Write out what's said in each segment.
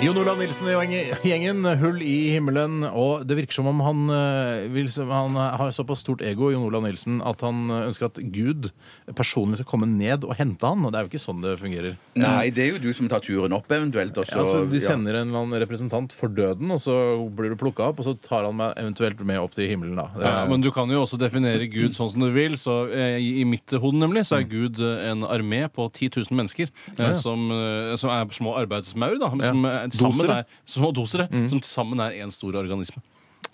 Jon Olav Nilsen i gjeng- gjengen, hull i himmelen. Og det virker som om han, eh, vil, han har såpass stort ego, Jon Olav Nilsen, at han eh, ønsker at Gud personlig skal komme ned og hente han. Og det er jo ikke sånn det fungerer. Nei, det er jo du som tar turen opp eventuelt. Og så, Eh, altså, de ja. sender en eller annen representant for døden, og så blir du plukka opp, og så tar han meg eventuelt med opp til himmelen, da. Det er- Ja, men du kan jo også definere Gud sånn som du vil. Så eh, I i mitt hode nemlig så er Mm. Gud eh, en armé på 10 000 mennesker eh, Som, eh, som er små arbeidsmaur. da, men Ja. som, eh, sammen Dosere. Mm. Er, små dosere. Som til sammen er én stor organisme.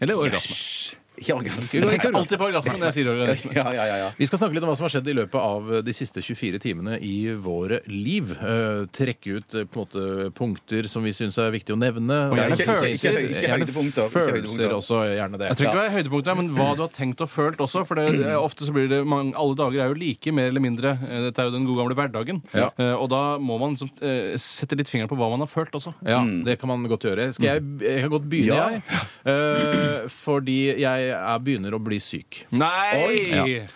Eller orgasme. Ikke orgasme. Jeg tenker alltid på orgasme når jeg sier orgasme. Ja, ja, ja, ja. Vi skal snakke litt om hva som har skjedd i løpet av de siste 24 timene i våre liv. Eh, trekke ut eh, på en måte punkter som vi syns er viktig å nevne. gjerne Gjerne følelser. følelser. Ikke- ikke høydepunkter, ikke høydepunkter. Følelser også, gjerne det. Jeg tror ikke det er høydepunktet, her, men hva du har tenkt og følt også. For det, det er ofte så blir det mange, Alle dager er jo like, mer eller mindre. Eh, Dette er jo den gode gamle hverdagen. Ja. Eh, og da må man liksom, eh, sette litt fingeren på hva man har følt også. Ja, det kan man godt gjøre. Skal jeg, jeg kan godt begynne, Ja. jeg. Eh, fordi jeg er begynner å bli syk. Nei! Ja.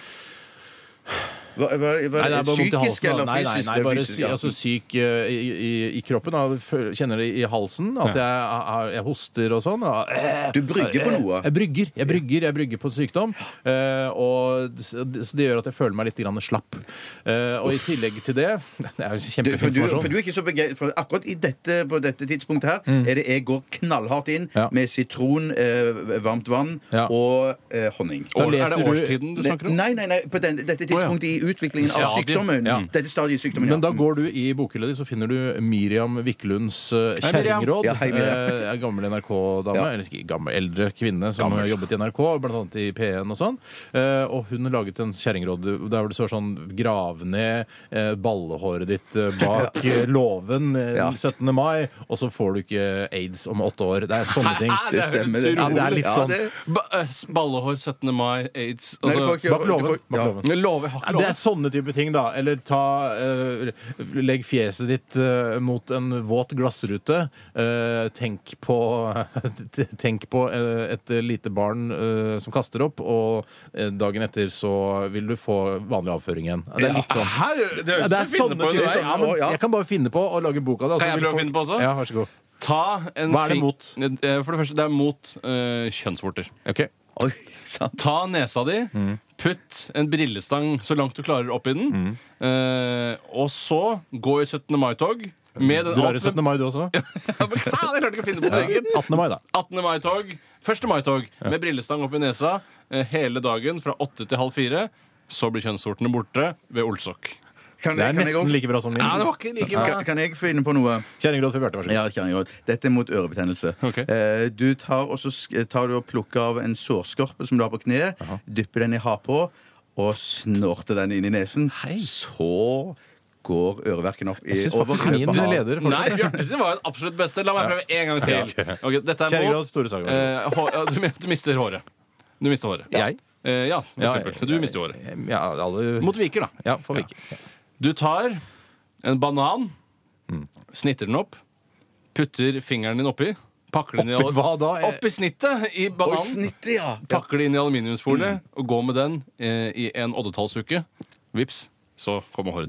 Hva, hva, hva, Nei, det er bare vondt i psykisk halsen. da. eller Nei, nei, fysisk? nei, Det er bare fysisk, sy ja. altså, syk eh, i, i, i kroppen. Da. Føl- Kjenner det i halsen. At jeg, har- jeg hoster og sånn. og, eh, Du brygger på noe. Jeg brygger, jeg brygger, jeg brygger på sykdom. eh, og s- så det gjør at jeg føler meg litt grann slapp. Eh, og i tillegg til det Det er jo Du, for, kjempefin du, for informasjon. du er ikke så begeistret for Akkurat i dette, på dette tidspunktet her er det jeg går knallhardt inn Mm. Ja. med sitron, eh, varmt vann Ja. og eh, honning. Da År, er leser det du- årstiden du snakker om? Nei, nei, nei, på den, dette tidspunktet i utviklingen av Stadiet. sykdommen. Ja. Dette stadiet i sykdommen, Men da går du i bokhylla di, så finner du Miriam Viklunds eh, Hei, Miriam. kjerringråd. Ja, hei, Miriam. Eh, en gammel NRK-dame, Ja. eller ikke gammel, eldre kvinne som Gammel. jobbet i NRK, bl.a. i P1 og sånn. Eh, Og hun laget en kjerringråd der hvor det står sånn Grav ned eh, ballehåret ditt eh, bak eh, låven eh, Ja. 17. mai, og så får du ikke aids om åtte år. Det er sånne ting. Hæ? Det stemmer, det. høres Ja, det er urolig. litt Ja, sånn. det- Ba eh, ballehår 17. mai, aids Nei, du altså, får ikke- Bak du låven. får- Bak ja. låven. jeg Lover, jeg har Ja, ikke det er lovet. sånne type ting, da. Eller ta eh, Legg fjeset ditt eh, mot en våt glassrute. Eh, tenk på Tenk på eh, et lite barn eh, som kaster opp, og eh, dagen etter så vil du få vanlig avføring igjen. Ja, det er litt sånn. Hæ? Det Ja, høres det ut er som du finner sånne på typer underveis. ja, men Ja. Jeg kan bare finne på å lage bok av det. og så Kan jeg vil prøve å folk- finne på også? Ja, vær så god. Ta en Hva er det fik- Eh, For det første, det er mot eh, kjønnsvorter. Ok. Oi, sant. Ta nesa di, Mm. putt en brillestang så langt du klarer opp i den, Mm. eh, og så gå i 17. mai-tog med den Du er i 17. mai, du også? Ja, men faen, jeg klarte ikke å finne på det eget. 18. mai, da. 18. mai-tog, 1. mai-tog med brillestang opp i nesa eh, hele dagen fra åtte til halv fire. Så blir kjønnsvortene borte ved Olsok. Kan, Det er kan, nesten jeg, like bra som min. Ja, det var ikke like også- bra. kan, kan jeg finne på noe? Kjerringråd for Bjarte, vær så god. Ja, kjerringråd. Dette er mot ørebetennelse. Ok. Eh, du tar, og så sk- tar du og plukker av en sårskorpe som du har på kneet, dypper den i hapa og snorter den inn i nesen. Så går øreverken opp i Jeg syns over- faktisk min over- leder Nei, fortsatt Bjarte sin var den absolutt beste. La meg prøve en gang til. Ok, dette er Kjerringråd, mot Store Sager. vær så god. eh, hå- ja, du, mener- du mister håret. Du mister håret. Jeg? Eh, ja, for Ja, Eh, eksempel. Du mister håret. Ja, alle Mot viker, da. Ja, får vi ikke. Du tar en banan, Mm. snitter den opp, putter fingeren din oppi, pakker den i Oppi al- hva da? Oppi snittet i Oi, bananen. snittet, ja! Pakker det inn i aluminiumsfolie og går med den eh, i en oddetallsuke. Vips, så kommer håret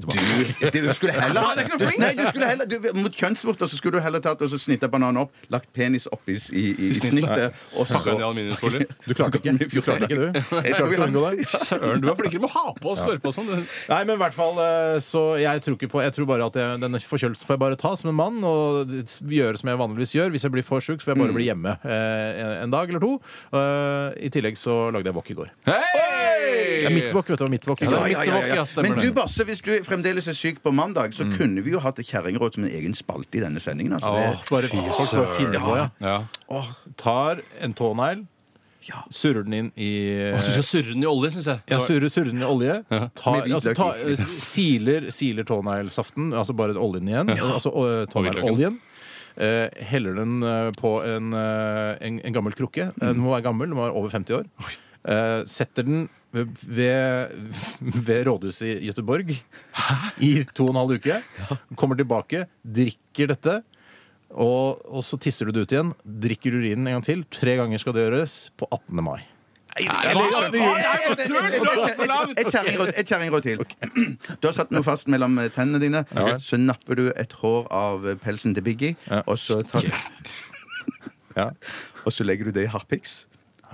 Du, tilbake. du skulle heller Faen, jeg er ikke noe flink! Nei, du skulle heller du, Mot kjønnsvorter så skulle du heller tatt og så snitta bananen opp, lagt penis oppi s- i, i, i snittet og så Pakker den i aluminiumsfolie. Du klarte ikke, du. Klarte ikke, du. Jeg tror vi Klarte å unngå det. Søren, du er flinkere med å ha på og skorpe og sånn. Nei, men i hvert fall eh, Så jeg tror ikke på Jeg tror bare at jeg, denne forkjølelsen får jeg bare ta som en mann og gjøre som jeg vanligvis gjør. Hvis jeg blir for sjuk, så får Mm. jeg bare bli hjemme eh, en dag eller to. Eh, I tillegg så lagde jeg wok i går. Det er mitt Hei! wok, vet du. og Mitt wok i Ja, går. det er mitt wok, ja, stemmer Men du, det. Basse, hvis du fremdeles er syk på mandag, så kunne vi jo hatt Kjerringråd som en egen spalte i denne sendingen. Altså. Mm. Åh, Det- bare folk bare finner på, ja. Ja. Tar en tånegl, Ja. surrer den inn i Du skal surre den i olje, syns jeg. Jeg surrer surrer den i olje. Tar, Med hvitløk altså, ta, i. siler siler tåneglsaften, altså bare oljen igjen. Altså øh, tånegloljen. Eh, heller den eh, på en, eh, en, en gammel krukke. Eh, Den må være gammel, den må være over 50 år. Eh, setter den ved, ved, ved rådhuset i Gøteborg i to og en halv uke. Kommer tilbake, drikker dette. Og, og så tisser du det ut igjen. Drikker urinen en gang til. Tre ganger skal det gjøres på 18. mai. eller at vi- Et kjerringråd til. Du har satt noe fast mellom eh, tennene dine. Ja. Så napper du et hår av eh, pelsen til Biggie, Ja. og så, tar, Ja. og så legger du det i harpiks.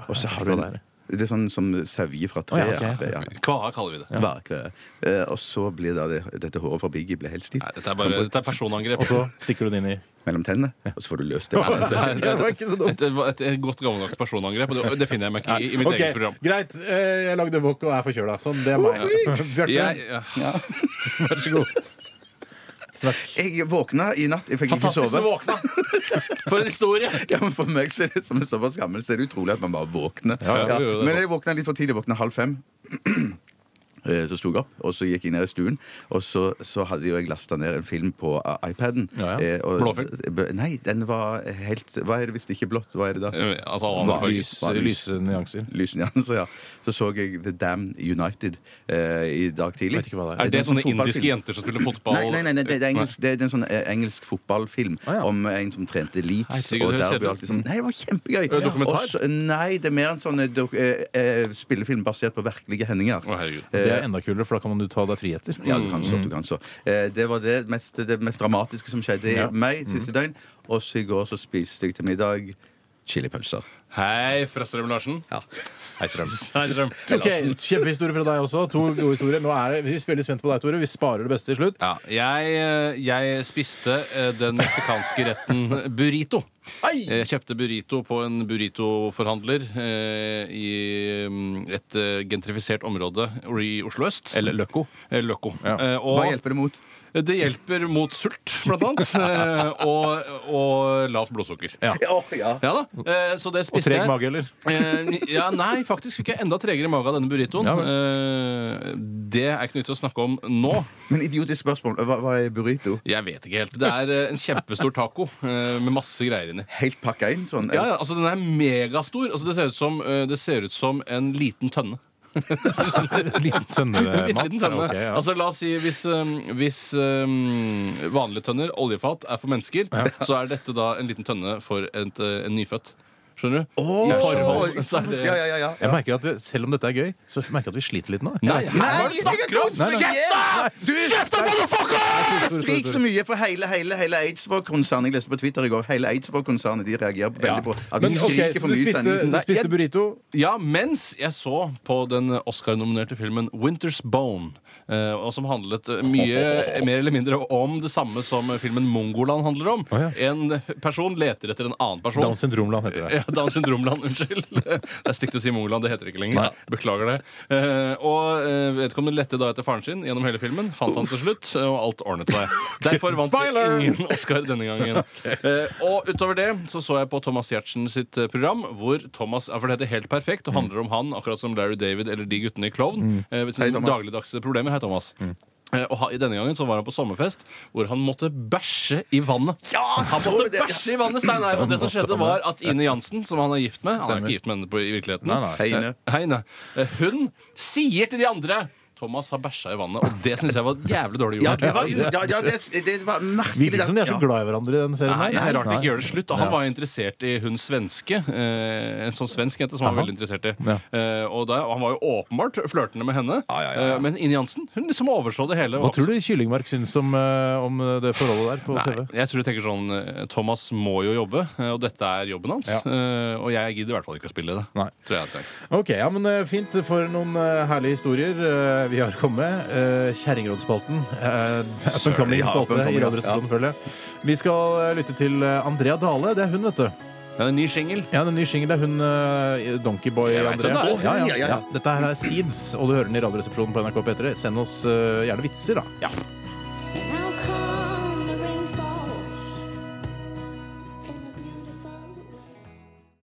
Og så har du Hva det en, er? Det er sånn som sevje fra Å, tre. ja, ok. ja, tre, ja. Kvaha kaller vi det. Hver kveld. Eh, Og så blir da det, dette håret fra Biggie blir helt Nei, stivt dette er bare dette er personangrep. Og så stikker du den inn i mellom tennene, og så får du løst det. Nei, det er- var ikke så dumt. Et, et, et godt gammeldags personangrep. Og det, det finner jeg meg ikke i, i mitt Ok, eget program. Greit. eh, Jeg lagde wok og er forkjøla. Sånn, det er meg. Bjarte, Jeg, ja. vær så god. Jeg våkna i natt, jeg fikk ikke Fantastisk sove. du våkna! For en historie! Ja, men For meg så er det som er såpass gammel, så er det utrolig at man bare våkner. ja, jo, jo, det er Men sant. jeg våkna litt for tidlig. Jeg våkna halv fem. Eh, Så sto jeg opp, og så gikk jeg ned i stuen. Og så, så hadde jo jeg lasta ned en film på eh, iPaden. Ja, ja. Eh, og- Blåfilm? Nei, den var helt Hva er det hvis det ikke er blått? Hva er det da? Eh, Altså, alle Hva? andre farger. Lys, lyse nyanser. Lysnyanser, ja. Så så jeg The Dam United eh, i dag tidlig. Vet ikke hva det er. Er det en sånn sånne indiske fotballfilm? jenter som spiller fotball? Nei, nei, nei, nei, det, det, er engelsk, det er en sånn eh, engelsk fotballfilm Å, ja. om eh, en som trente Leeds. Herregud, og det der høres ble kjedelig alt liksom, nei, det var kjempegøy! det dokumentar? Og så- nei, det er mer en sånn eh, dok, eh, eh, spillefilm basert på virkelige hendinger. Å, herregud. Det er enda kulere, for da kan man jo ta deg friheter. Ja, du kan så, du kan så. Eh, det var det mest, det mest dramatiske som skjedde i Ja. meg Mhm. siste døgn. Og så i går så spiste jeg til middag chilipølser. Hei, fra Strøm Larsen. Ja. Hei, Strøm. Hei, Strøm. Ok, Kjempehistorie fra deg også. To gode historier. Nå er det, vi er veldig spent på deg, Tore. Vi sparer det beste til slutt. Ja, jeg, eh, jeg spiste eh, den meksikanske retten burrito. Eh, Ai! Jeg kjøpte burrito på en burritoforhandler eh, i mm, et eh, gentrifisert område i Oslo øst. Eller Løkko. Eh, Løkko. Ja. Eh, og- Hva hjelper det mot? Det hjelper mot sult, blant annet. eh, og, og lavt blodsukker. Ja. Ja, ja. da. eh, Så det Og spiste treg jeg. mage, eller? Eh, ja, nei, faktisk fikk jeg enda tregere mage av denne burritoen. Ja, Eh, det er ikke noe vits å snakke om nå. Men idiotisk spørsmål. Hva, hva er burrito? Jeg vet ikke helt. Det er eh, en kjempestor taco eh, med masse greier inni. Helt pakka inn sånn? Ja, ja, altså Den er megastor. Altså, det, ser ut som, eh, det ser ut som en liten tønne. Liten En bitte liten tønne. Eh, Ok, ja. Altså La oss si hvis, um, hvis um, vanlige tønner, oljefat, er for mennesker, så er dette da en liten tønne for et, eh, en nyfødt. Skjønner du? Åh, I forhold så er det ja, ja, ja, ja. Jeg merker at vi, Selv om dette er gøy, så merker jeg at vi sliter litt nå. Nei, hva Nei, er det du snakker om? nei, nei. Kjeft da! Du- Tore, Tore, Skrik så Tore. mye for hele, hele, hele Eidsvåg-konsernet. Jeg leste på Twitter i går. Hele Eidsvåg-konsernet de reagerer veldig på at vi Men ok, skriker Så for du mye i spiste, sendingen. du Nei, spiste burrito? Ja, mens jeg så på den Oscar-nominerte filmen Winter's Bone, eh, og som handlet eh, mye mer eller mindre om det samme som filmen Mongoland handler om. Å, En person leter etter en annen person. Downs syndromland heter det. Ja, Downs syndromland, unnskyld. Det er stygt å si Mongoland, det heter det ikke lenger. Beklager det. Eh, og eh, vedkommende lette da etter faren sin gjennom hele filmen, fant han til slutt, eh, og alt ordnet seg. Derfor vant Spoiler! ingen Oscar denne gangen. Eh, og utover det så så jeg på Thomas Giertsen sitt eh, program, hvor Thomas ja, For det heter Helt perfekt og Mm. handler om han, akkurat som Larry David eller de guttene i Klovn. eh, ved Hei, sine Thomas. Mm. dagligdagse problemer. Hei, Thomas. Eh, Og ha- i Denne gangen så var han på sommerfest hvor han måtte bæsje i vannet. han måtte bæsje i vannet, Steinar! Og det som skjedde, var at Ine Jansen, som han er gift med Han er Stemmer. ikke gift med henne på, i virkeligheten. Nei, nei. Hei, Ine. Eh, Hei, Ine. Eh, Hun sier til de andre Thomas har bæsja i vannet, og det syns jeg var jævlig dårlig Ja, gjort. det var, ja, ja, det, det var merkelig. Virker ikke som de liksom, er så Ja. glad i hverandre i den serien. Nei, det er rart de ikke gjør det slutt. Og han Ja. var jo interessert i hun svenske. eh, En sånn svensk jente som han Aha. var veldig interessert i. Ja. Eh, Og, da, og han var jo åpenbart flørtende med henne. Eh, Men Ine Jansen hun liksom overså det hele. Hva tror du Kyllingmark syns om, eh, om det forholdet der på Nei, TV? jeg tror du tenker sånn eh, Thomas må jo jobbe, eh, og dette er jobben hans. Ja. eh, Og jeg gidder i hvert fall ikke å spille det. Nei. Tror jeg jeg hadde tenkt. Ok, ja, men eh, Fint for noen eh, herlige historier eh, vi har kommet med. Eh, Kjerringrådsspalten. Uh, Søren, ja, spalte i up-and-coming, ja. Radioresepsjonen, føler jeg. Vi skal eh, lytte til eh, Andrea Dale. Det er hun, vet du. Det er en ny singel. Ja, Den nye singelen er hun eh, Donkeyboy Jeg vet Andrea. hvem det er. Å, ja, ja, ja. Dette her er Seeds, og du hører den i Radioresepsjonen på NRK P3. Send oss eh, gjerne vitser, da. Ja.